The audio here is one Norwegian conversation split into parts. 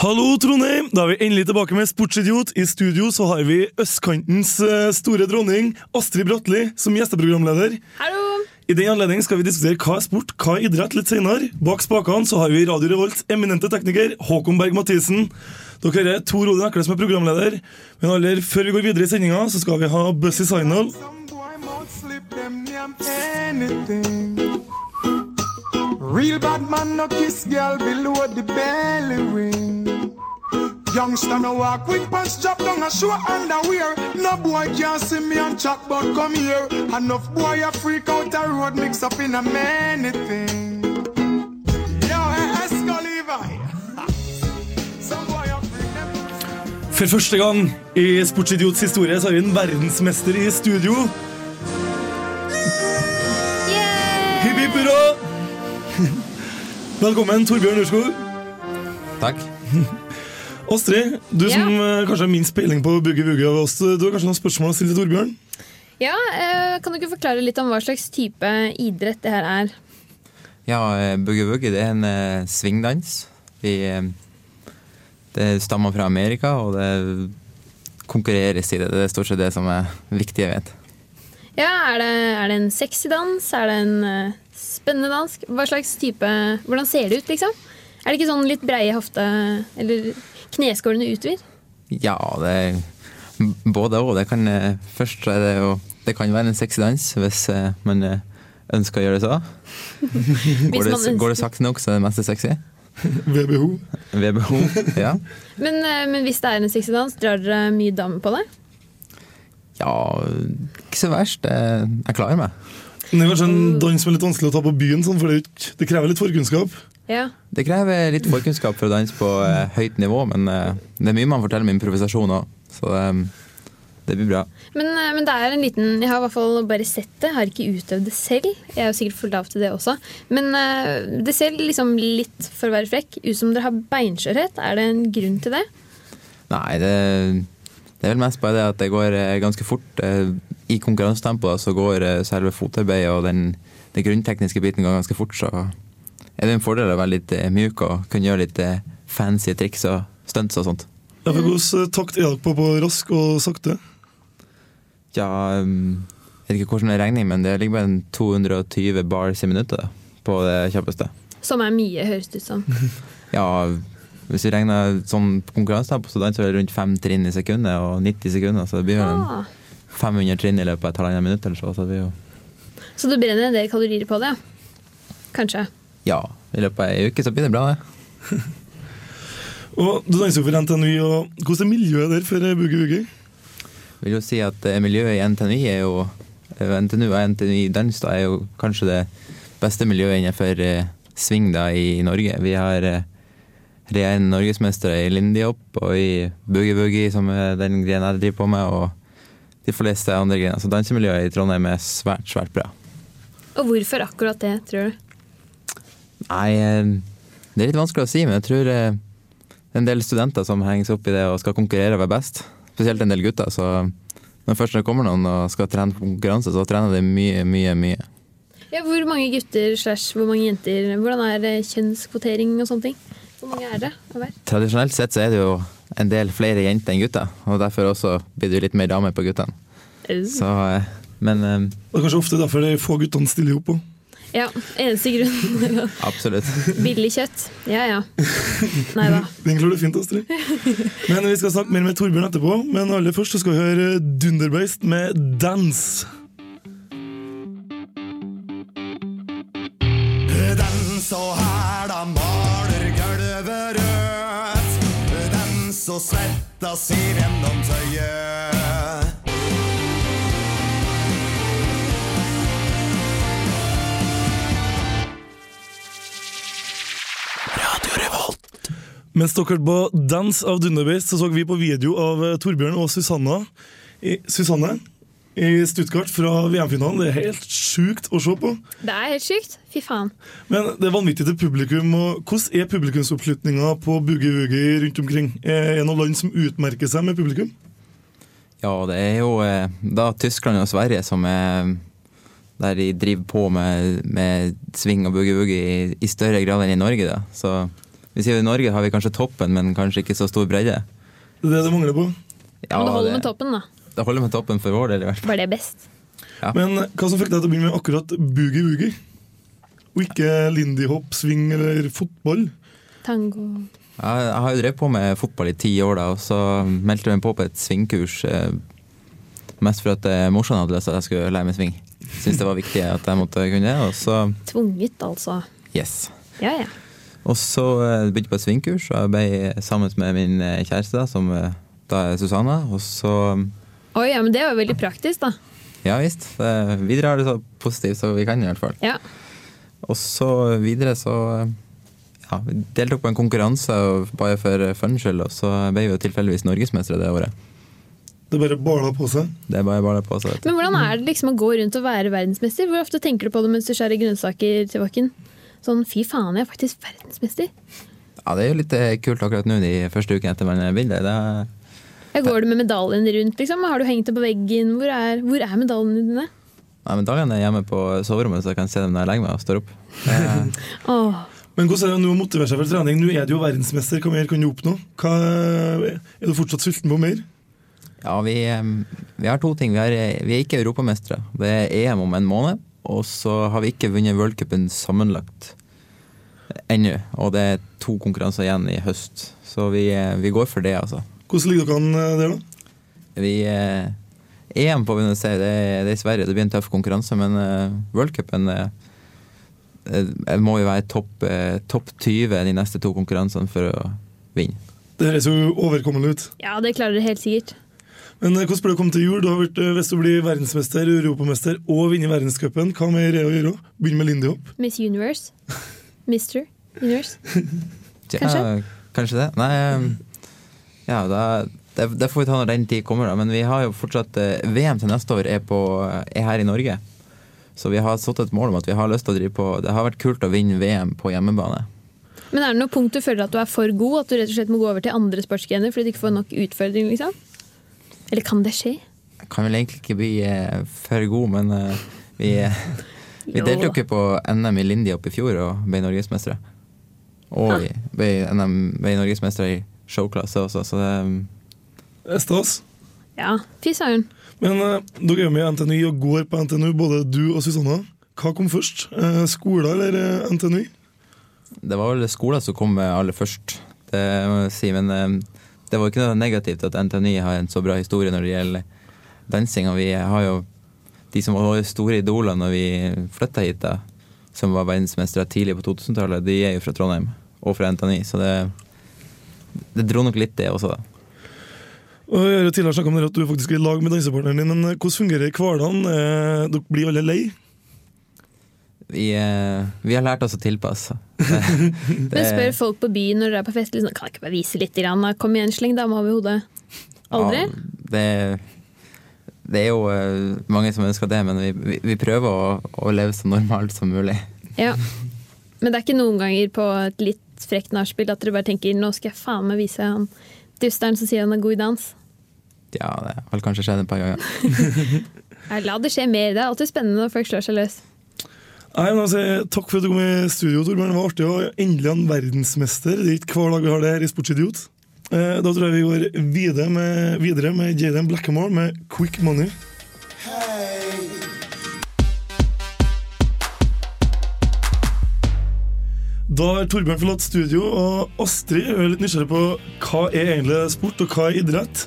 Hallo, Trondheim! Da er vi endelig tilbake med Sportsidiot. I studio så har vi østkantens eh, store dronning, Astrid Bratli, som gjesteprogramleder. Hallo! I den anledning skal vi diskutere hva er sport, hva er idrett, litt senere. Bak spakene så har vi Radio Revolts eminente tekniker, Håkon Berg-Mathisen. Dere hører Tor Odin Ekle som er programleder. Men aller før vi går videre i sendinga, så skal vi ha Bussy Signal. Some boy won't slip them name anything. Real bad man no kiss girl below the belly ring. Youngster no walk with pants drop down and show underwear. No boy can see me on chalk, but come here. Enough boy a freak out a road mix up in a many thing. Yo, hey, Esco Levi. Some boy a freak them. For første gang i Sportsidiots historie så har vi en verdensmester i studio. Hipp hipp hurra! Velkommen, Torbjørn Urskog. Takk. Astrid, du Ja. som eh, kanskje har minst peiling på Boogie Woogie av oss, eh, du har kanskje noen spørsmål å stille til Torbjørn? Ja, eh, Kan du ikke forklare litt om hva slags type idrett det her er? Ja, eh, boogie woogie det er en eh, svingdans. Vi, eh, det stammer fra Amerika, og det konkurreres i det. Det er stort sett det som er viktig, jeg vet. Ja, Er det, er det en sexy dans? Er det en eh, spennende dans? Hva slags type Hvordan ser det ut, liksom? Er det ikke sånn litt breie hofte eller kneskålene utvider? Ja, det er både og. Det kan, eh, først så er det jo Det kan være en sexy dans hvis eh, man eh, ønsker å gjøre det så. Går man det, ønsker- går det sakte nok, så er det meste sexy. VBH. Ved behov. Ja. Men, eh, men hvis det er en sexy dans, drar dere mye dam på det? ja, ikke så verst. Eh, Jeg klarer meg. Det er kanskje en dans som er litt vanskelig å ta på byen, sånn, for det, er jo ikke- det krever litt forkunnskap. Ja. Det krever litt forkunnskap for å danse på eh, høyt nivå, men eh, det er mye man forteller med improvisasjon òg, så eh, det blir bra. Men, eh, men det er en liten Jeg har i hvert fall bare sett det, har ikke utøvd det selv. Jeg er jo sikkert for lav til det også. Men eh, det ser liksom litt, for å være frekk, ut som dere har beinskjørhet. Er det en grunn til det? Nei, det, det er vel mest bare det at det går eh, ganske fort. eh, I konkurransetempo da, så går eh, selve fotarbeidet og den, den grunntekniske biten går ganske fort, så er det en fordel å være litt eh, mjuk og kunne gjøre litt eh, fancy triks og stunts og sånt. Ja, for Hvordan eh, takt er dere på på rask og sakte? Ja, um, jeg vet ikke hvordan det er regning, men det ligger bare en 220 bars i minuttet da, på det kjappeste. Som er mye, høres det ut som. Ja, hvis vi regner sånn på konkurransetempo, så danser vi rundt fem trinn i sekundet og 90 sekunder, så det blir jo en Ah, 500 trinn i løpet av et halvannet minutt eller så. så det blir jo så du brenner en del kalorier på det, ja? Kanskje. Ja, i løpet av ei uke så blir det bra, det. Og Du danser jo for NTNU, og hvordan er miljøet der for eh, Boogie Woogie? Jeg vil jo si at eh, miljøet i NTNU er jo eh, NTNU og NTNU dans da er jo kanskje det beste miljøet innenfor eh, sving da i Norge. Vi har eh, regjerende norgesmestere i lindyhopp og i boogie-boogie, som er den grenen jeg driver på med, og de fleste andre grener. Så dansemiljøet i Trondheim er svært, svært bra. Og hvorfor akkurat det, tror du? Nei, eh, det er litt vanskelig å si, men jeg tror eh, det er en del studenter som henger seg opp i det og skal konkurrere og være best. Spesielt en del gutter. Så når først det kommer noen og skal trene på konkurranse, så trener de mye, mye, mye. Ja, hvor mange gutter slash hvor mange jenter Hvordan er det kjønnskvotering og sånne ting? Hvor mange er det av hver? Tradisjonelt sett så er det jo en del flere jenter enn gutter, og derfor også blir det jo litt mer damer på guttene. Så, eh, men eh, Det er kanskje ofte derfor de få guttene stiller opp. også. Ja, eneste grunn. absolutt. Billig kjøtt. Ja ja. Nei da. Den klarer du fint, Astrid. Men Vi skal snakke mer med Torbjørn etterpå, men aller først så skal vi høre Dunderbeist med 'Dans'. Den så her da maler gulvet rødt Den så svetta sier gjennom tøyet Mens dere på Dance av Dunderbeist så så vi på video av eh, Torbjørn og Susanna i, Susanne i Stuttgart fra VM-finalen. Det er helt sjukt å se på. Det er helt sykt. Fy faen. Men det er vanvittig til publikum. og Hvordan er publikumsoppslutninga på Boogie Woogie rundt omkring? Er det noen land som utmerker seg med publikum? Ja, det er jo eh, da Tyskland og Sverige som er der de driver på med, med sving og boogie-woogie i, i større grad enn i Norge. da. Så vi sier jo I Norge har vi kanskje toppen, men kanskje ikke så stor bredde. Det er det det mangler på. Ja, Men det holder med toppen, da. det holder med toppen for vår del, i hvert fall. Var det best? Men hva som fikk deg til å begynne med akkurat Boogie Woogie? Og ikke lindy hop, swing eller fotball? Tango Jeg, jeg har jo drevet på med fotball i ti år, da, og så meldte jeg meg på på et svingkurs. Eh, mest for at eh, morsan hadde lyst til at jeg skulle lære meg sving. Syntes det var viktig at jeg måtte kunne det. Og så Tvunget, altså. yes. Ja, ja. Og så eh, begynte jeg på et svingkurs, og jeg ble sammen med min eh, kjæreste, da, som eh, da er Susanna. Og så Oi, ja, men det var jo veldig praktisk, da. ja visst. eh, Videre har det så positivt som vi kan, i hvert fall. Ja. Og så videre så eh, ja, vi deltok på en konkurranse og bare for eh, fun skyld, og så ble vi jo tilfeldigvis norgesmestere det året. Det bare bala på seg. Det er bare bare på seg. vet du. Men hvordan er det liksom å gå rundt og være verdensmester? Hvor ofte tenker du på det mens du skjærer grønnsaker til bakken? Sånn fy faen, jeg er faktisk verdensmester. Ja, det er jo litt eh, kult akkurat nå de første ukene etter man begynner. Det er, Jeg går du med medaljen rundt, liksom? Har du hengt det på veggen? Hvor er, hvor er medaljene dine? nei, men dagene er hjemme på soverommet, så jeg kan se dem når jeg legger meg og står opp. Eh, Åh. Men hvordan er det nå å motivere seg for trening? Nå er du jo verdensmester. Hva mer kan du oppnå? Hva, er du fortsatt sulten på mer? ja, vi, eh, vi har to ting. Vi er, vi er ikke europamestere. Det er EM om en måned, og så har vi ikke vunnet worldcupen sammenlagt ennå. Og det er to konkurranser igjen i høst, så vi, eh, vi går for det, altså. Hvordan ligger dere an eh, der, da? Vi eh, EM på Buenos Aires, det, er- det er i Sverige. Det blir en tøff konkurranse, men eh, worldcupen eh, eh, må jo være topp eh, topp 20 de neste to konkurransene for å vinne. Det høres jo overkommelig ut. Ja, det klarer du helt sikkert. Men eh, hvordan blir det å komme til jul? Du har vært, eh, hvis du blir verdensmester, europamester og vinner verdenscupen, hva mer er det å gjøre? Begynne med lindy hop? Miss Universe. Mister Universe. Tja, Kanskje? kanskje det. Nei, eh, ja, da, det, det får vi ta når den tid kommer, da. Men vi har jo fortsatt eh, VM til neste år er, på, er her i Norge. Så vi har satt et mål om at vi har lyst til å drive på Det har vært kult å vinne VM på hjemmebane. Men er det noe punkt du føler at du er for god, at du rett og slett må gå over til andre sportsgrener fordi du ikke får nok utfordring, liksom? Eller kan det skje? Jeg kan vel egentlig ikke bli eh, for god, men eh, vi, vi Jo. deltok jo på NM i Lindy oppe i fjor og ble norgesmestere. Ah. Og vi ble, NM, ble norgesmestere i showklasse også, så det, Det er stas. Ja, fy søren. Men eh, dere er med i NTNU og går på NTNU, både du og Susanna. Hva kom først? Eh, skolen eller eh, NTNU? det var vel skolen som kom eh, aller først, det må jeg si. Men eh, det var ikke noe negativt at NTNI har en så bra historie når det gjelder dansing. Og vi har jo de som var våre store idoler når vi flytta hit, da, som var verdensmestere tidlig på 2000-tallet, de er jo fra Trondheim og fra NTNI, så det, det dro nok litt, det også. da. Og jeg har tidligere snakket om dere at du er faktisk i lag med dansepartneren din, men eh, hvordan fungerer hverdagen? Eh, dere blir alle lei? vi, eh, vi har lært oss å tilpasse. Men spør folk på byen når dere er på fest liksom, Kan jeg ikke bare vise litt? Grann, da? Kom igjen, sleng dama over hodet. Aldri? Ja, det, det er jo eh, mange som ønsker det, men vi, vi, vi prøver å, å leve så normalt som mulig. Ja. Men det er ikke noen ganger på et litt frekt nachspiel at dere bare tenker nå skal jeg faen meg vise han dusteren som sier han er god i dans. Ja, det har kanskje skjedd et par ganger. Nei, La det skje mer. Det er alltid spennende når folk slår seg løs. Nei, men altså, Takk for at du kom i studio, Torbjørn. Det var artig å endelig ha en verdensmester. Det er ikke hver dag vi har det her i Sportsidiot. Eh, da tror jeg vi går videre med, videre med Jaden Blackmore med Quick Money. Da har Torbjørn forlatt studio, og Astrid er litt nysgjerrig på hva er egentlig sport, og hva er idrett.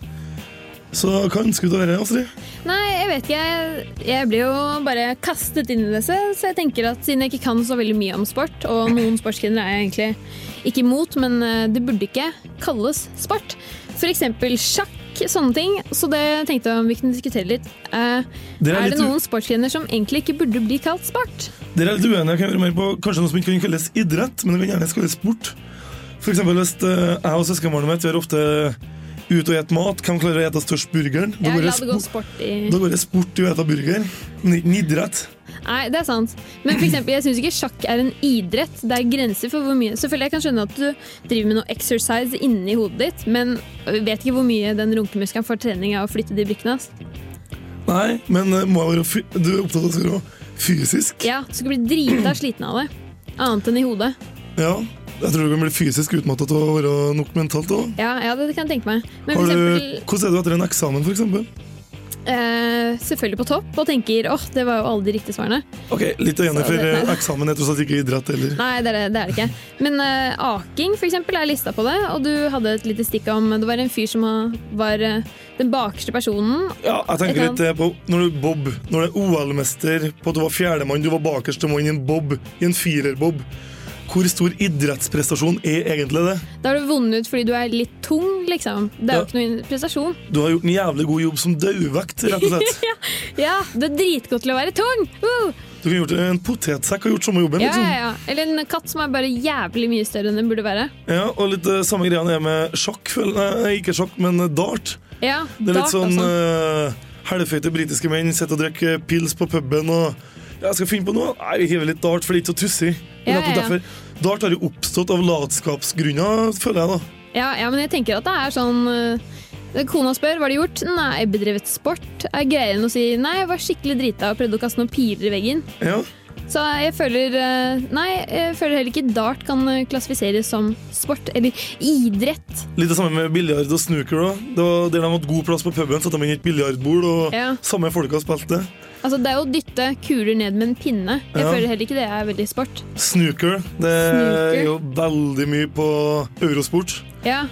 Så hva ønsker du å være, Astrid? Nei, jeg vet ikke. Jeg- Jeg ble jo bare kastet inn i disse, så jeg tenker at siden jeg ikke kan så veldig mye om sport, og noen sportsgrener er jeg egentlig ikke imot, men eh, det burde ikke kalles sport. For eksempel sjakk, sånne ting. Så det tenkte jeg om vi kunne diskutere litt. Eh, Dere er det litt u- noen sportsgrener som egentlig ikke burde bli kalt sport? Dere er litt uenige. Jeg kan være mer på kanskje noe som ikke kan kalles idrett, men det kan gjerne kalles sport. For eksempel hvis eh, jeg og søskenbarnet mitt vi er ofte ute og spiser mat, hvem klarer å spise størst burgeren? Da Ja, går la det det gå spo- sport i da går det sport i å spise burger, men ikke en idrett. Nei, det er sant. Men for eksempel, jeg syns ikke sjakk er en idrett. Det er grenser for hvor mye Selvfølgelig jeg kan skjønne at du driver med noe exercise inni hodet ditt, men vi vet ikke hvor mye den runkemuskelen får trening av å flytte de brikkene. ass. Nei, men eh, må jeg være fy du er opptatt av at det skal være fysisk? Ja, Du skal bli drita sliten av det. Annet enn i hodet. Ja. Jeg tror du kan bli fysisk utmattet av å være nok mentalt òg. Ja, ja det kan jeg tenke meg. Men for Hvordan eksempel er du etter en eksamen, f.eks.? eh, selvfølgelig på topp og tenker åh, det var jo alle de riktige svarene. Ok, litt å gjerne Så for det- eh, eksamen er tross alt ikke idrett heller. Nei, det er det, det er det ikke. Men eh, aking for eksempel, er lista på det, og du hadde et lite stikk om Det var en fyr som eh, var eh, den bakerste personen. Ja, jeg tenker Jeg kan- litt eh, på når du er bob, når du er OL-mester, på at du var fjerdemann, du var bakerste mann i en bob, i en firerbob. Hvor stor idrettsprestasjon er egentlig det? Da har du vunnet fordi du er litt tung, liksom. Det er Ja. jo ikke noen prestasjon. Du har gjort en jævlig god jobb som dauvekt, rett og slett. Ja, du er dritgod til å være tung! Woo! Du kan gjort En potetsekk har gjort samme jobben, Ja, liksom. ja, ja. Eller en katt som er bare jævlig mye større enn den burde være. Ja, og litt eh, samme greia er med sjakk, føler jeg. Nei, ikke sjakk, men eh, dart. Ja, Det er dart, litt sånn altså. eh, Helføyte britiske menn sitter og drikker pils på puben og ja, jeg skal finne på noe. Nei, vi hiver litt dart, for det er ikke så tussig. Ja, Nettopp ja, ja. derfor. Dart har jo oppstått av latskapsgrunner, føler jeg, da. Ja, ja, men jeg tenker at det er sånn eh, Kona spør hva har du gjort. Nei, bedrevet sport. Er greiere enn å si nei, jeg var skikkelig drita og prøvde å kaste noen piler i veggen. Ja. Så jeg føler eh, Nei, jeg føler heller ikke dart kan eh, klassifiseres som sport eller idrett. Litt det samme med biljard og snooker. Da. Det var Der de hadde god plass på puben, satte de inn i et biljardbord, og Ja. samme folka spilte. Altså, det er jo å dytte kuler ned med en pinne. Jeg Ja. føler heller ikke det er veldig sport. Snooker, det Snooker. er jo veldig mye på eurosport. Ja.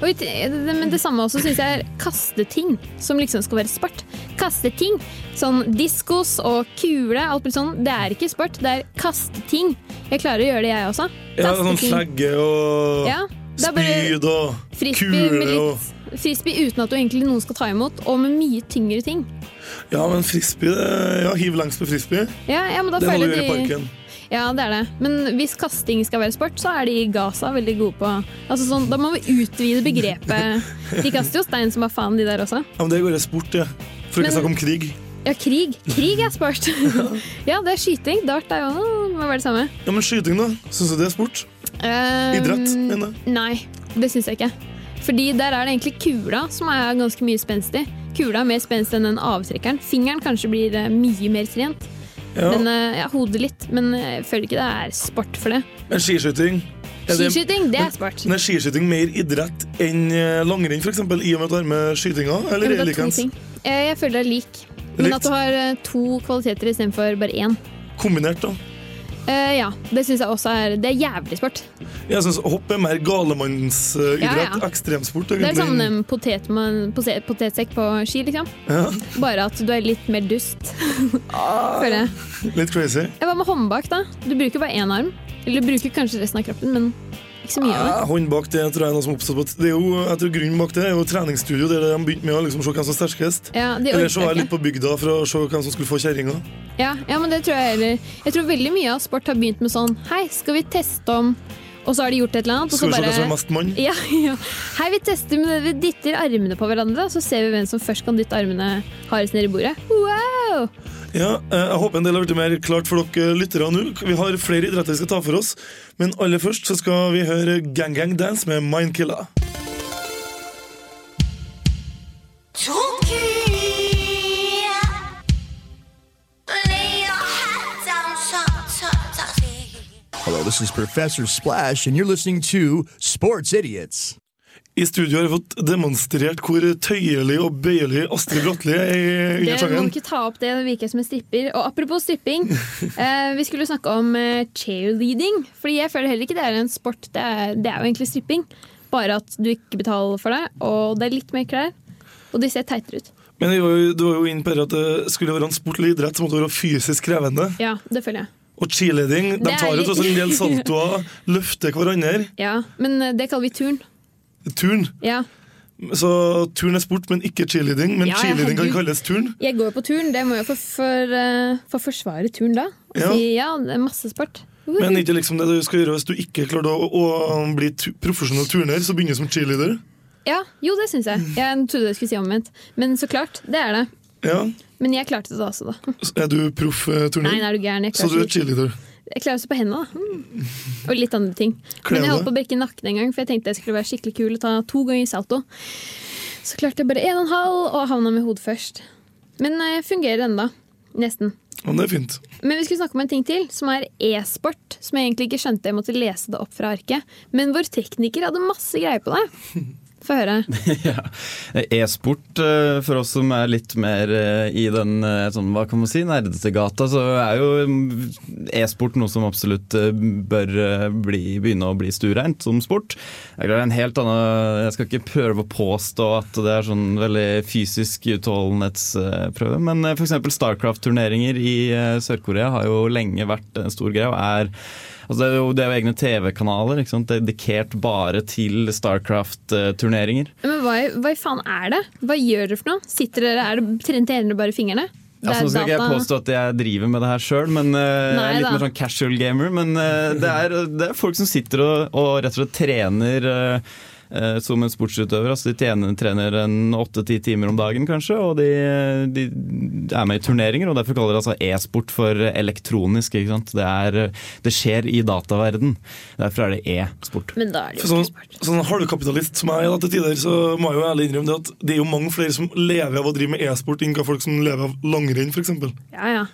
Og ut- det- men det samme også syns jeg er kasteting, som liksom skal være sport. Kasteting. Sånn diskos og kule, alt mulig sånn. Det er ikke sport, det er kasteting. Jeg klarer å gjøre det, jeg også. Ja, sånn Kasteting. slegge og Ja, det er bare spyd og frisbee, med kule og litt, frisbee uten at du egentlig noen skal ta imot, og med mye tyngre ting. Ja, men frisbee det- Ja, hiv lengst på frisbee. Ja, ja men da Det må du føler gjøre i de parken. Ja, det er det. Men hvis kasting skal være sport, så er de i Gaza veldig gode på altså sånn, Da må vi utvide begrepet. De kaster jo stein som bare faen, de der også. Ja, men det går i sport, det. For ikke Men- å snakke om krig. Ja, krig. Krig er sport. ja, det er skyting. Dart er jo åh, må være det samme. Ja, men skyting, da? Syns du det er sport? Eh, Idrett, mener jeg. Nei, det syns jeg ikke. Fordi der er det egentlig kula som er ganske mye spenstig. Kula er mer spenstig enn den avtrekkeren. Fingeren kanskje blir eh, mye mer trent. Ja. Men, eh, ja, hodet litt, men eh, jeg føler ikke det er sport for det. Men skiskyting er det- Skiskyting, det er sport. Men er skiskyting mer idrett enn eh, langrenn, f.eks., i og med at du har med skytinga? Ja, Eller men er det det er to likeens? ting. Eh, Jeg føler det er lik. Men Likt. at du har eh, to kvaliteter istedenfor bare én. Kombinert, da. Eh, ja, det syns jeg også er Det er jævlig sport. Jeg syns hopp er mer eh, galemannsidrett. Ja, ja. Ekstremsport. Det er egentlig. sånn en potet, man- pose- potetsekk på ski, liksom. Ja, Bare at du er litt mer dust. Føler jeg. litt crazy. Ja, Hva med håndbak, da? Du bruker bare én arm. Eller du bruker kanskje resten av kroppen, men ikke så mye av det. Ja, Eh, hånd bak det tror jeg er noe som oppstod på det er jo, jeg tror Grunnen bak det er jo treningsstudio, der de begynte med å liksom, se hvem som er sterkest. Ja, de Eller så var jeg orker ikke. litt på bygda for å se hvem som skulle få kjerringa. Ja, ja, men det tror jeg heller. Jeg tror veldig mye av sport har begynt med sånn Hei, skal vi teste om Og så har de gjort et eller annet, og Skal så vi se bare hvem som er mest mann? Ja, ja. Hei, vi tester, men vi dytter armene på hverandre, og så ser vi hvem som først kan dytte armene hardest ned i bordet. Wow! Ja, eh, jeg håper en del har blitt mer klart for dere lyttere nå. Vi har flere idretter vi skal ta for oss, men aller først så skal vi høre Gang Gang Dance med Mindkiller. 時や你我黑站上出走時。 Hello, this is Professor Splash, and you're listening to Sports Idiots. I studio har vi fått demonstrert hvor tøyelig og bøyelig Astrid Bratli er i- Det under må sangen. ikke ta opp det, det virker som en stripper. Og apropos stripping, eh, vi skulle snakke om eh, cheerleading. Fordi jeg føler heller ikke det er en sport, det er, det er jo egentlig stripping. Bare at du ikke betaler for det, og det er litt mer klær. Og de ser teitere ut. Men vi var jo, du var jo inne på det at det skulle være en sport eller idrett som måtte være fysisk krevende. Ja, det føler jeg. Og cheerleading, de Det er tar jo litt- tross alt en del saltoer, løfter hverandre. Ja, Men eh, det kaller vi turn. Turn. Ja, Så turn er sport, men ikke cheerleading. Men Ja, ja, cheerleading kan herregud. kalles turn. Jeg går på turn, det må jeg få for, eh, få forsvare turn da. Og Ja. si ja, det er masse sport. Men ikke liksom det du skal gjøre hvis du ikke klarer å, å bli tu profesjonell turner, så begynner du som cheerleader. Ja, jo, det syns jeg. Jeg trodde jeg skulle si omvendt. Men så klart, det er det. Ja. Men jeg klarte det også, da. Så Er du proff eh, turner? Nei, nei, er du gæren. Jeg så du klarer er ikke- cheerleader. jeg klarer ikke på hendene, da. Mm. Og litt andre ting. Kle Men jeg av holdt på å brekke nakken en gang, for jeg tenkte jeg skulle være skikkelig kul og ta to ganger salto. Så klarte jeg bare en og en halv, og havna med hodet først. Men eh, fungerer ennå. Nesten. Men det er fint. Men vi skulle snakke om en ting til, som er e-sport. Som jeg egentlig ikke skjønte. Jeg måtte lese det opp fra arket. Men vår tekniker hadde masse greier på det. Få høre. Ja. E-sport, eh, for oss som er litt mer eh, i den eh, sånn, hva kan man si, nerdete gata, så er jo mm, e-sport noe som absolutt eh, bør eh, bli, begynne å bli stuereint som sport. Jeg, er en helt annen, jeg skal ikke prøve å påstå at det er sånn veldig fysisk utholdenhetsprøve, men eh, for eksempel Starcraft-turneringer i eh, Sør-Korea har jo lenge vært en stor greie og er Altså det, er jo, det er jo egne TV-kanaler ikke sant? dedikert bare til eh, Starcraft-turneringer. Men hva, i- hva i faen er det? Hva gjør dere for noe? Sitter dere, er det, Trener dere bare fingrene? Det sånn Altså, nå skal ikke jeg påstå at jeg driver med det her sjøl, men eh, jeg er Nei litt da. mer sånn casual gamer. Men eh, det, er, det er folk som sitter og, og rett og slett trener eh, eh, som en sportsutøver. Altså, de tjener, trener en åtte-ti timer om dagen, kanskje, og de, de er med i turneringer. og Derfor kaller de altså e-sport for elektronisk. Ikke sant? Det, er, det skjer i dataverden. Derfor er det e-sport. Men da er det For jo sånn, ikke sport. sånn halvkapitalist som jeg er da, til tider, så må jeg jo ærlig innrømme det at det er jo mange flere som lever av å drive med e-sport, enn hva folk som lever av langrenn, f.eks. Det Ja, ja.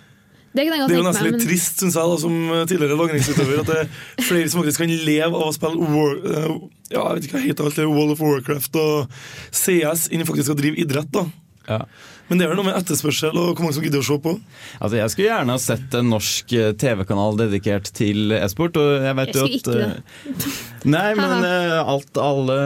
Det kan jeg godt er jo tenke nesten meg. litt Men, trist, syns jeg, da, som eh, tidligere langrennsutøver, at det er flere som faktisk kan leve av å spille war, eh, ja, jeg vet ikke hva heter alt det, Wall of Warcraft og CS, enn faktisk å drive idrett. da. Ja. Men det er vel noe med etterspørsel og hvor mange som gidder å se på. Altså, Jeg skulle gjerne ha sett en norsk eh, TV-kanal dedikert til e-sport. og Jeg vet Jeg jo skulle at... ikke eh, Nei, men eh, alt, alle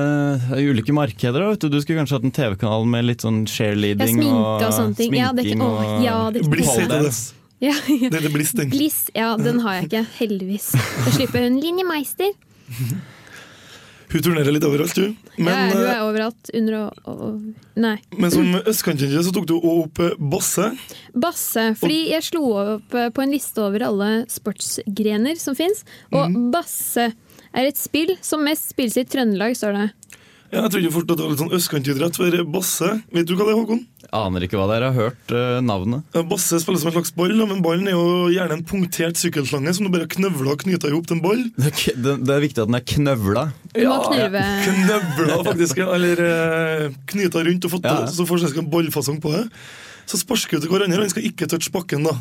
eh, ulike markeder. da, Vet du. du skulle kanskje hatt en TV-kanal med litt sånn ja, cheerleading sminke og sånne ting. Ja, det, er sminking ikke- åh, ja, det, er ikke- Bliss heter det. Poledance. ja, ja. Det heter Bliss, den. Bliss, ja, den har jeg ikke. Heldigvis. Da slipper hun Linje Meister. Hun turnerer litt overalt, hun. Men, ja, hun eh, er overalt. Under og, og, og Nei. men som østkantkjendis så tok du også opp eh, Basse. Basse. Fordi jeg slo opp eh, på en liste over alle sportsgrener som fins, og Mm. basse er et spill som mest spilles i Trøndelag, står det. Ja, jeg trodde fort at det var litt sånn østkantidrett, for Basse Vet du hva det er, Håkon? Aner ikke hva det er, jeg har hørt eh, navnet. Ja, Basse spiller som en slags ball, da, men ballen er jo gjerne en punktert sykkelslange som du bare knøvler og knyter ihop til en ball. Det, er k- det, det er viktig at den er knøvla. Du må knurve. Knøvla, faktisk, eller eh, knyta rundt og fått, Ja. så får du en ballfasong på det. Så sparker du til hverandre, og den skal ikke touche bakken, da.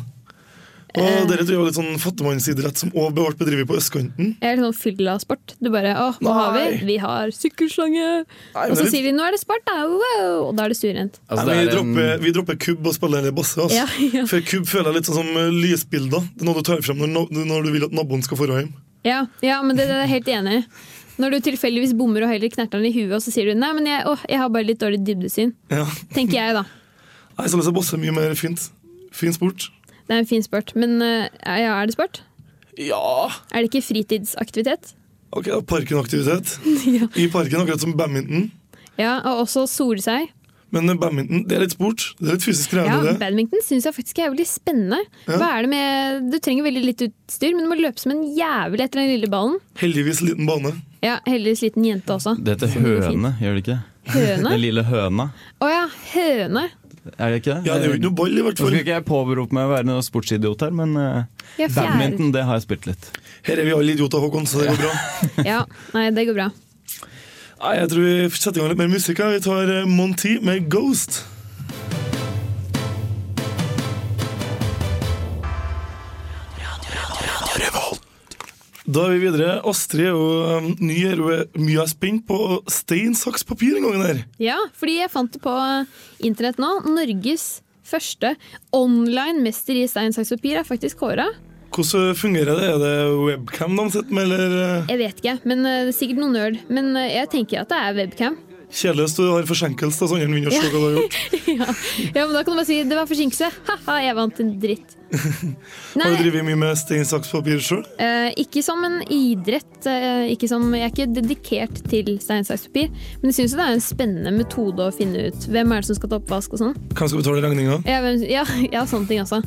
Eh. Og Dere tror jeg var litt sånn fattigmannsidrett som òg ble bedrevet på østkanten. Jeg er litt sånn fylla av sport. Du bare 'Å, hva har vi? Nei. Vi har sykkelslange!' men Og så det- sier de 'Nå er det sport', da! Wow! Og da er det stuerent. Altså, Nei, det vi, er en- dropper, vi dropper kubb og spiller heller basse. Altså. Ja, ja. For kubb føler jeg litt sånn som eh, lysbilder. Det er noe du tar frem når, no- når du vil at naboen skal dra hjem. Ja, ja men det, det er jeg helt enig i. Når du tilfeldigvis bommer og heller knerter den i huet, og så sier du 'Nei, men jeg, åh, jeg har bare litt dårlig dybdesyn'. Ja. Tenker jeg, da. Nei, så er basse mye mer fint. Fin sport. Det er en fin sport. Men eh, ja, er det sport? Ja! Er det ikke fritidsaktivitet? Ok, da, Parkenaktivitet. Ja. I parken, akkurat som badminton. Ja, og også sole seg. Men eh, badminton det er litt sport. Det er litt fysisk Ja, krevende, det. badminton syns jeg faktisk er jævlig spennende. Hva er det med Du trenger veldig litt utstyr, men du må løpe som en jævel etter den lille ballen. Heldigvis liten bane. Ja, heldigvis liten jente også. Det heter Som blir fint. høne, gjør det ikke? Den Høne? lille høna, Å ja, høne. er det ikke det? Ja, Det er jo ikke noe ball, i hvert Nå fall. skal ikke jeg påberope meg å være noen sportsidiot her, men eh, Ja, fjær. badminton, det har jeg spilt litt. Her er vi alle idioter, Håkon, så det går bra. Ja, nei, det går bra. Nei, Jeg tror vi setter i gang litt mer musikk. her. Vi tar eh, Monty med 'Ghost'. Da er vi videre. Astrid er jo um, ny her. Hun er mye er spent på stein, saks, papir en gang der. Ja, fordi jeg fant det på eh, internett nå. Norges første online mester i stein, saks, papir er faktisk kåra. Hvordan fungerer det? Er det webcam de sitter med, eller eh, Jeg vet ikke, men eh, det er sikkert noe nerd. Men eh, jeg tenker at det er webcam. Kjedelig hvis du har forsinkelse, da, så andre vinner og ser hva du har gjort. ja. ja, men da kan du bare si 'det var forsinkelse'. Ha-ha, jeg vant en dritt. Har du Nei, drevet mye med stein, saks, papir sjøl? eh, ikke som en idrett. eh, ikke som, jeg er ikke dedikert til stein, saks, papir. Men jeg syns det er en spennende metode å finne ut hvem er det som skal ta oppvask og sånn. Hvem skal betale regninga? Ja, hvem, ja, ja, sånne ting altså.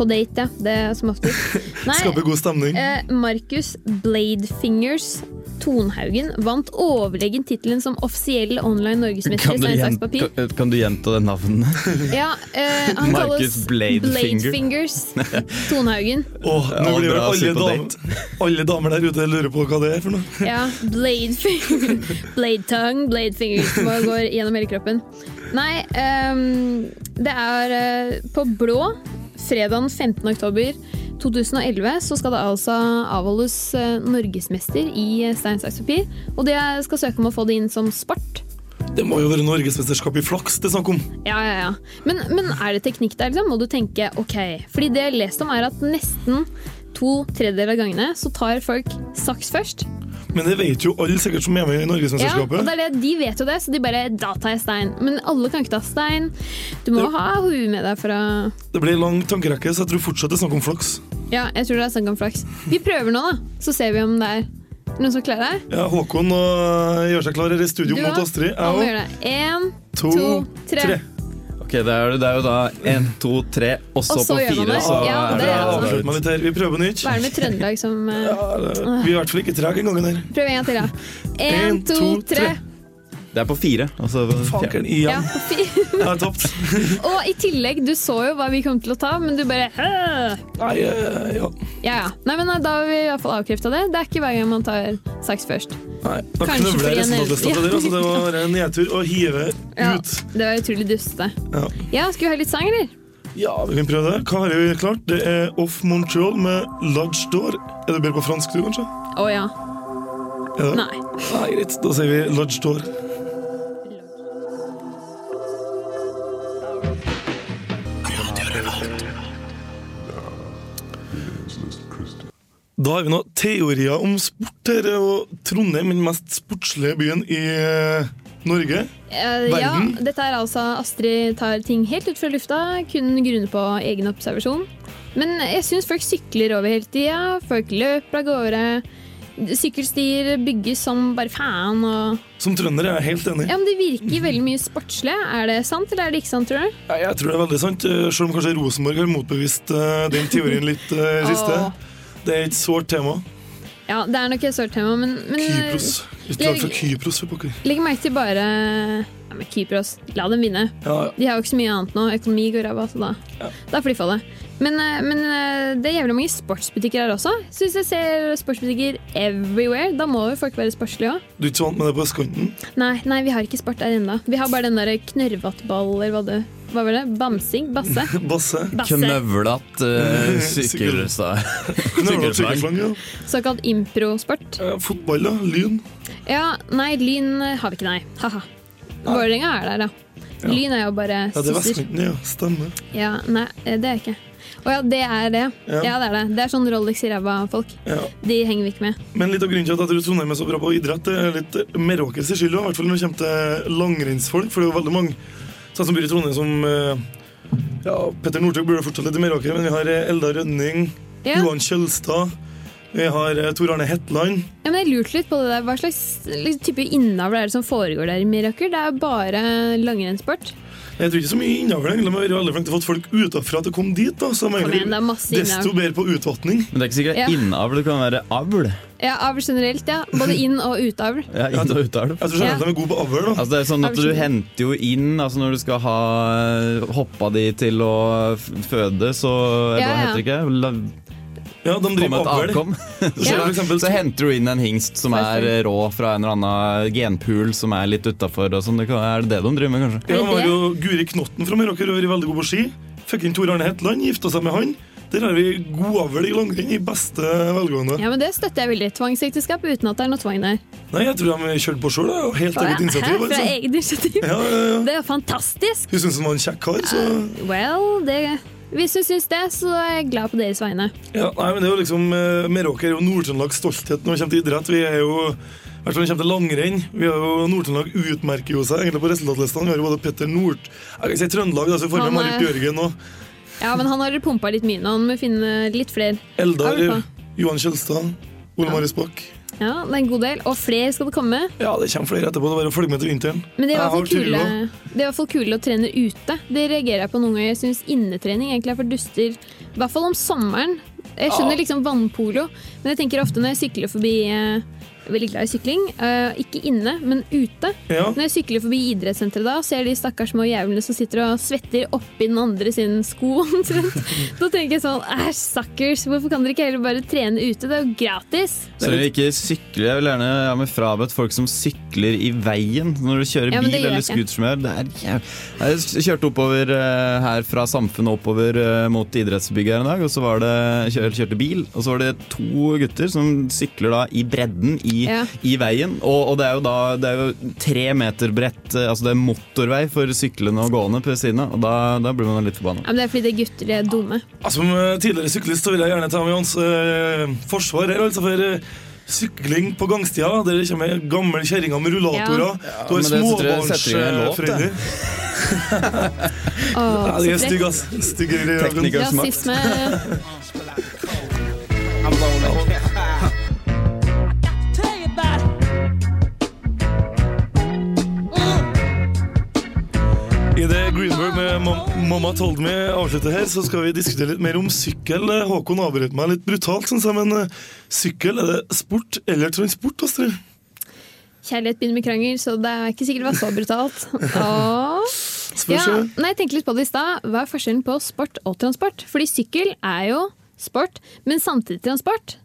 På date, ja. Det er som oftest. Nei, Skape god stemning. eh, Markus Bladefingers Tonhaugen vant overlegen tittelen som offisiell online norgesmester i Kan du, stein, saks, gjenta, papir. kan, kan du gjenta det navnet? Ja, eh, han Marcus kalles Bladefinger. Bladefingers Tonhaugen. Åh, nå Ja, blir vel bra å si alle, på damer, alle damer der ute lurer på hva det er for noe. Ja, Bladefinger. Bladetongue, Bladefinger. som bare går gjennom hele kroppen. Nei, ehm, det er eh, på blå fredagen 15. oktober 2011 så skal det altså avholdes eh, norgesmester i eh, stein, saks, papir. Og det skal søke om å få det inn som sport. Det må jo være norgesmesterskap i flaks det er snakk om. Ja, ja, ja. Men, men er det teknikk der, liksom? Må du tenke ok. Fordi det jeg har lest om, er at nesten to tredjedeler av gangene så tar folk saks først. Men det vet jo alle sikkert som er med i Ja, og norgesmesterskapet. det er det, De vet jo det, så de bare Da tar jeg stein. Men alle kan ikke ta stein. Du må Det- ha huet med deg for å det blir lang tankerekke, så jeg tror fortsatt det er snakk om flaks. Ja, jeg tror det er snakk om flaks. Vi prøver nå, da. Så ser vi om det er noen som klarer det. Ja, Håkon øh, gjør seg klar her i studio mot Astrid. han må Jeg òg. gjøre det. Én, To, to, tre. tre. Ok, det er, det er jo da én, to, tre, og så Og så på gjør man fire. det. Så Ja, er det Ja, er eh, altså- avslutt meg litt her. Vi prøver på nytt. Hva er det med Trøndelag som eh, Ja, det- vi er i hvert fall ikke trege en gangen her. Prøv en gang til, da. Én, to, tre. Det er på fire. og så- Fankeren Ja, igjen. fint. Jeg har tapt. Og i tillegg, du så jo hva vi kom til å ta, men du bare «Hæ?» Nei, øh, ja. Ja, ja. Nei, men eh, da har vi i hvert fall avkrefta det. Det er ikke hver gang man tar saks først. Nei, da knøvler Kanskje jeg fordi resten jeg av lista til nevnte- dere. Altså, det var en nedtur å hive Ja, ut. det var utrolig dustete. Ja. Ja, skal vi høre litt sang, eller? Ja, vi kan prøve det. Hva har vi klart? Det er Off Montreal med Lodge Door. Er det bedre på fransk, du, kanskje? Å ja. Er det? Nei. Nei, greit. Da sier vi Lodge Door. Da har vi noen teorier om sport her, og Trondheim er den mest sportslige byen i eh, Norge. Eh, ja, Verden? dette er altså Astrid tar ting helt ut fra lufta, kun grunnet på egen observasjon. Men jeg syns folk sykler over hele tida. Folk løper av gårde. Sykkelstier bygges som bare faen. Og... Som trønder er jeg helt enig. Ja, men Det virker veldig mye sportslig. Er det sant, eller er det ikke sant, tror du? Nei, Jeg tror det er veldig sant, eh, selv om kanskje Rosenborg har motbevist eh, den teorien litt eh, siste. Åh. Det er et sårt tema. Ja, det er nok et sårt tema, men, men Kypros. Et lag fra Kypros. for pokker. legg merke til bare ja, men Kypros. La dem vinne. Ja, ja. De har jo ikke så mye annet nå. Økonomi går ræva, så da, da får de få det. Men, eh, men eh, det er jævlig mange sportsbutikker her også. Så hvis jeg ser sportsbutikker everywhere, da må jo folk være sportslige òg. Du er ikke vant med det på østkanten? Nei, nei, vi har ikke sport der ennå. Vi har bare den der knørrvattball, eller hva det Hva var det? Bamsing? Basse? Basse? Basse. Knøvlat uh, Sykkel. sykkelstad. Knøvla Sykkelslang. sykkelslang, ja. Såkalt improsport. Eh, Fotball, da. Lyn. Ja, nei, Lyn eh, har vi ikke, nei. Ha-ha. Vålerenga er der, da. Lyn er jo bare Ja, det er sisser. vestkanten, ja. Stemmer. Ja, nei, eh, det er jeg ikke. Å ja, det er det. Ja. Ja, det er det. Det er sånn Rolex i ræva-folk. Ja. De henger vi ikke med. Men litt av grunnen til at jeg tror Trondheim er så bra på idrett, det er litt Meråkers skyld, i hvert fall når det kommer til langrennsfolk, for det er jo veldig mange sånn som bor i Trondheim som eh, ja, Petter Northug burde fortsatt litt i Meråker, men vi har eh, Eldar Rønning, Ja. Johan Kjølstad, vi har eh, Tor Arne Hetland. Ja, men jeg lurte litt på det der. Hva slags liksom, type innavl er det som foregår der i Miracle? Det er bare langrennssport. Jeg tror ikke så mye innover det, egentlig, men vi har veldig flink til å få folk utenfra til å komme dit, da, så de er Kom igjen, det er egentlig masse desto innavl. bedre på utvatning. Men det er ikke sikkert Ja. innavl, det kan være avl. Ja, avl generelt, ja. Både inn- og utavl. Ja, inn- og utavl. Jeg tror generelt Ja. de er gode på avl, da. Altså det er sånn at Du henter jo inn altså når du skal ha eh, hoppa di til å f- føde, så Hva Ja, ja. heter det ikke? La, Ja, de komme driver et avl. avkom. Så ser du Ja. for eksempel- Så henter du inn en hingst som er rå fra en eller annen genpool som er litt utafor. Er det det de driver med, kanskje? Ja, Er det han var det? jo Guri Knotten fra Meråker og er veldig god på ski. Fikk inn Tor Arne Hetland, gifta seg med han. Der har vi godavl i langrenn i beste velgående. Ja, men Det støtter jeg veldig. Tvangsekteskap uten at det er noe tvang der. Nei, jeg tror de kjørte på sjøl. Helt Å, ja. eget initiativ. Hæ? Fra Altså. eget initiativ. Ja, ja, ja. Det er fantastisk! Hun syntes han var en kjekk kar, så Well, det hvis du syns det, så er jeg glad på deres vegne. ja, Nei, men det er jo liksom eh, Meråker er jo Nord-Trøndelags stolthet når det kommer til idrett. Vi er jo hvert fall når det kommer til langrenn. Vi har jo Nord-Trøndelag utmerker jo seg egentlig på resultatlistene. Vi har jo både Petter Nord... Jeg kan si Trøndelag, da, så vi får med Han Marit er- Bjørgen og Ja, men han har pumpa litt mye nå. Han må finne litt flere. Eldar, Ja, vi Johan Kjelstad, Ole Marius Bach. Ja, det er en god del. Og flere skal det komme. Ja, det kommer flere etterpå. Det er bare å følge med til vinteren. Men det er i hvert fall Jeg har kule, trua. det er i hvert fall kule å trene ute. Det reagerer jeg på noen ganger. Jeg syns innetrening egentlig er for duster. I hvert fall om sommeren. Jeg skjønner liksom vannpolo, men jeg tenker ofte når jeg sykler forbi eh, jeg er Veldig glad i sykling. eh, ikke inne, men ute. Ja. Når jeg sykler forbi idrettssenteret da, og ser de stakkars små jævlene som sitter og svetter oppi den andre sin sko omtrent, da tenker jeg sånn Æsj, suckers! Hvorfor kan dere ikke heller bare trene ute? Det er jo gratis! Så dere ikke sykler Jeg vil gjerne ha meg frabedt folk som sykler i veien når du kjører Ja, men bil det eller gjør jeg ikke. scootersmør. Det er jæv- Jeg kjørte oppover eh, her fra Samfunnet oppover eh, mot idrettsbygget her en dag, og så var det kjør, kjørte bil, og så var det to gutter som sykler da i bredden i, Ja. i veien, og, og det er jo da det er jo tre meter bredt, eh, altså det er motorvei for syklende og gående på siden av, og da, da blir man litt forbanna. Ja, men det er fordi det gutter de er dumme. Altså, Som eh, tidligere syklist så vil jeg gjerne ta med hans eh, forsvar her, altså for eh, sykling på gangstia. Der det kommer gamle kjerringer med rullatorer. du har men det tror jeg setter i en låt, det. småbarnsforeldre. Å, Ja, de så er frekt. stygge, ass. Stygge greier. Tekniker. Girls Makt. Rasisme. I det Greenberg med Mam- Mamma Told Me avslutter her, så skal vi diskutere litt mer om sykkel. Eh, Håkon avbrøt meg litt brutalt, synes jeg, men eh, sykkel, er det sport eller transport, Astrid? Kjærlighet begynner med krangel, så det er ikke sikkert det var så brutalt. Åh. Spørs Ja, jo. nei, jeg tenkte litt på det i stad. Hva er forskjellen på sport og transport? Fordi sykkel er jo sport, men samtidig transport.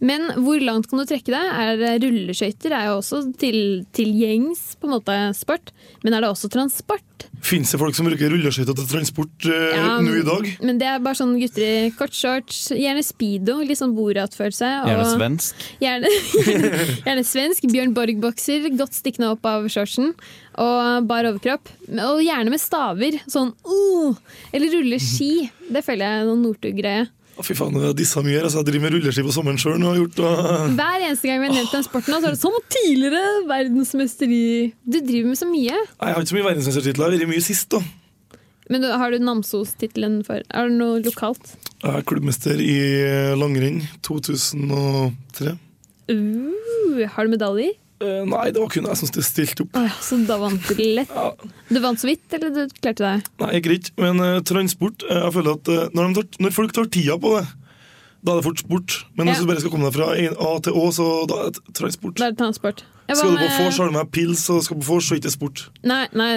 Men hvor langt kan du trekke det? Er Rulleskøyter er jo også til, til gjengs på en måte sport, men er det også transport? Fins det folk som bruker rulleskøyter til transport eh, Ja, nå i dag? Um, Men det er bare sånn gutter i kort shorts, gjerne speedo, litt sånn Borat-følelse. og- Gjerne svensk. Gjerne, gjerne, gjerne svensk. Bjørn Borg-bokser, godt stikkende opp av shortsen. Og bar overkropp. Og gjerne med staver. Sånn uh, Eller rulleski. Det føler jeg er noen Northug-greie. Å, Fy faen, jeg dissa mye her. Altså, jeg driver med rulleski på sommeren sjøl. Og... Hver eneste gang vi har nevnt den sporten, nå, så er det som tidligere verdensmester i Du driver med så mye. Nei, Jeg har ikke så mye verdensmestertitler. Jeg har vært mye sist, da. Men du, har du Namsos-tittelen for Er det noe lokalt? Jeg er klubbmester i eh, langrenn 2003. Uh, har du medaljer? Eh, nei, det var kun jeg som stilte opp. Å ja, så da vant du lett. Du vant så vidt, eller du klarte deg? Nei, ikke riktig. Men eh, transport eh, Jeg føler at eh, når, de tar, når folk tar tida på det, da er det fort sport. Men Ja. hvis du bare skal komme deg fra en A til Å, så da er det transport. Da er det transport. Jeg eh, var Skal du på med- vors, har du med pils, og skal du på vors, så er det ikke sport. Nei, nei,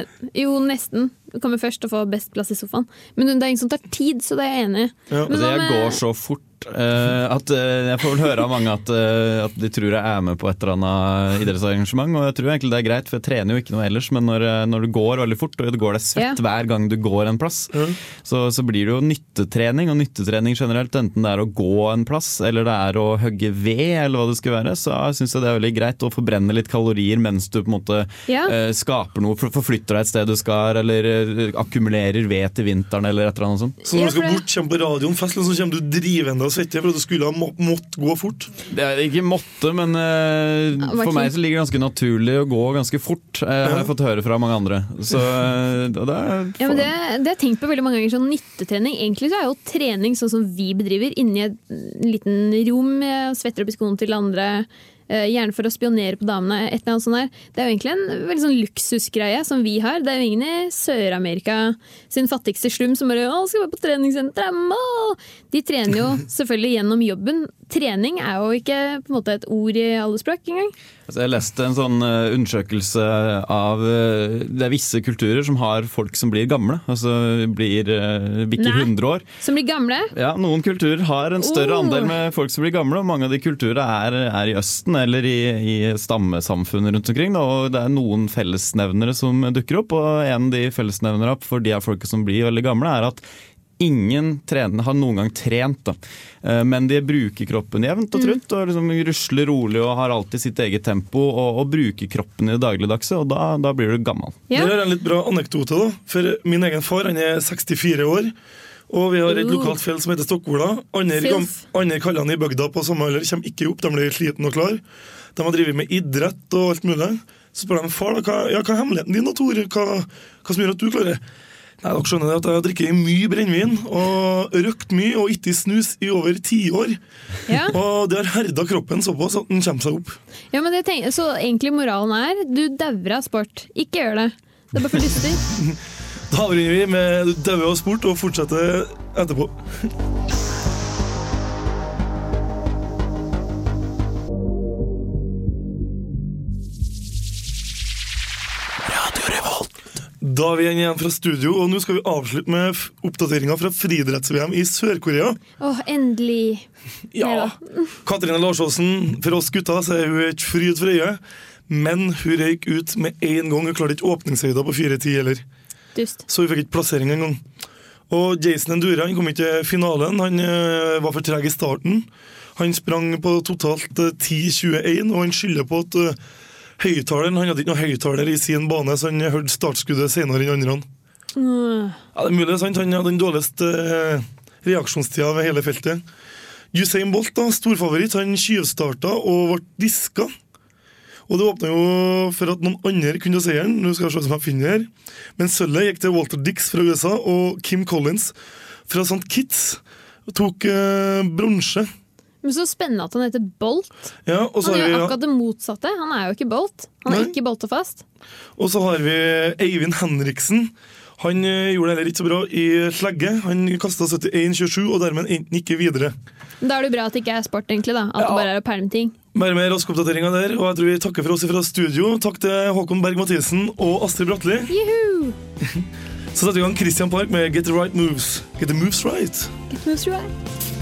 jo nesten. Du kommer først og får best plass i sofaen. Men det er ingen som tar tid, så det er jeg enig i. Ja. Men Altså, hva jeg med- går så fort eh, at eh, jeg får vel høre av mange at, eh, at de tror jeg er med på et eller annet idrettsarrangement. Og jeg tror egentlig det er greit, for jeg trener jo ikke noe ellers. Men når, eh, når du går veldig fort, og du går deg svett Ja. hver gang du går en plass, Mhm. så, så blir det jo nyttetrening. Og nyttetrening generelt, enten det er å gå en plass, eller det er å hogge ved, eller hva det skulle være, så syns jeg det er veldig greit å forbrenne litt kalorier mens du på en måte Ja. eh, skaper noe, for- forflytter deg et sted du skal, eller eh, akkumulerer ved til vinteren, eller et eller annet sånt. Så når Ja, du skal for det- bort, kommer på radioen, fest, så kommer du drivende og svette for at du skulle ha må mått gå fort. Det er ikke måtte, men eh, Ja, det var for meg kult. så ligger det ganske naturlig å gå ganske fort. eh, har jeg fått høre fra mange andre. Så eh, og det er Ja, men det, det har jeg tenkt på veldig mange ganger. Sånn nyttetrening. Egentlig så er jo trening sånn som vi bedriver, inni et mm, liten rom. jeg Svetter opp i skoene til andre. eh, Gjerne for å spionere på damene. Et eller annet sånt der. Det er jo egentlig en veldig sånn luksusgreie som vi har. Det er jo ingen i Sør-Amerika sin fattigste slum som bare å, skal være på treningssenteret. må!» De trener jo selvfølgelig gjennom jobben. Trening er jo ikke på en måte et ord i alle språk engang. Altså, Jeg leste en sånn eh, undersøkelse av eh, Det er visse kulturer som har folk som blir gamle. Altså blir eh, bikker Nei. 100 år. Som blir gamle. Ja, Noen kulturer har en større Oh. andel med folk som blir gamle, og mange av de kulturene er, er i Østen eller i, i stammesamfunn rundt omkring. Da, og Det er noen fellesnevnere som dukker opp, og en av de fellesnevnerne for de av folka som blir veldig gamle, er at Ingen trener, har noen gang trent, da. Eh, men de bruker kroppen jevnt og trutt. og liksom Rusler rolig og har alltid sitt eget tempo og, og bruker kroppen i det dagligdagse. Og da, da blir du gammel. Ja. Der har jeg en litt bra anekdote. da For min egen far han er 64 år. Og vi har et Ooh. lokalt fjell som heter Stokkola. Andre, Filf. gam- andre kallene i bygda på samme alder kommer ikke opp. De blir slitne og klare. De har drevet med idrett og alt mulig. Så spør de far da, hva, ja, hva er hemmeligheten din, da, Tor? Hva, hva som gjør at du klarer det? Nei, Dere skjønner det at jeg har drukket mye brennevin og røkt mye og ikke snus i over tiår. Ja. Og det har herda kroppen såpass at den kommer seg opp. Ja, men det tenker, Så egentlig moralen er du dauer av sport. Ikke gjør det. Det er bare for lystig. Da avriver vi med daue og sport og fortsetter etterpå. Da er vi igjen igjen fra studio, og nå skal vi avslutte med f- oppdateringa fra friidretts-VM i Sør-Korea. Åh, endelig. Ja. Katrine Larsåsen, for oss gutter så er hun ikke fryd for øyet, men hun røyk ut med én gang. Hun klarte ikke åpningshøyda på 4.10 heller. Dust. Så vi fikk ikke plassering engang. Og Jason Endura han kom ikke til finalen. Han eh, var for treg i starten. Han sprang på totalt eh, 10.21, og han skylder på at eh, høyttaleren Han hadde ikke noen høyttaler i sin bane, så han hørte startskuddet senere enn andre. Ja, det er mulig, sant? Han hadde den dårligste eh, reaksjonstida ved hele feltet. Usain Bolt, da, storfavoritt, han tjuvstarta og ble diska. Og det åpna jo for at noen andre kunne ta seieren. Nå skal jeg se som jeg finner her. Men sølvet gikk til Walter Dix fra USA og Kim Collins fra St. Kitts. Tok eh, bronse. Men så spennende at han heter Bolt. Ja, og så Han har gjør vi, akkurat det motsatte. Han er jo ikke Bolt. Han er Nei. ikke Bolt og fast. Og så har vi Eivind Henriksen. Han eh, gjorde det heller ikke så bra i slegge. Han kasta 71,27 og dermed endte han ikke videre. Da er det jo bra at det ikke er sport, egentlig. da. At Ja. det bare er å pælme ting. Bare med raske oppdateringer der, og jeg tror vi takker for oss fra studio. Takk til Håkon Berg-Mathisen og Astrid Bratli. Juhu! Så setter vi i gang Christian Park med Get the Right Moves. Get the Moves Right. Get loose, right.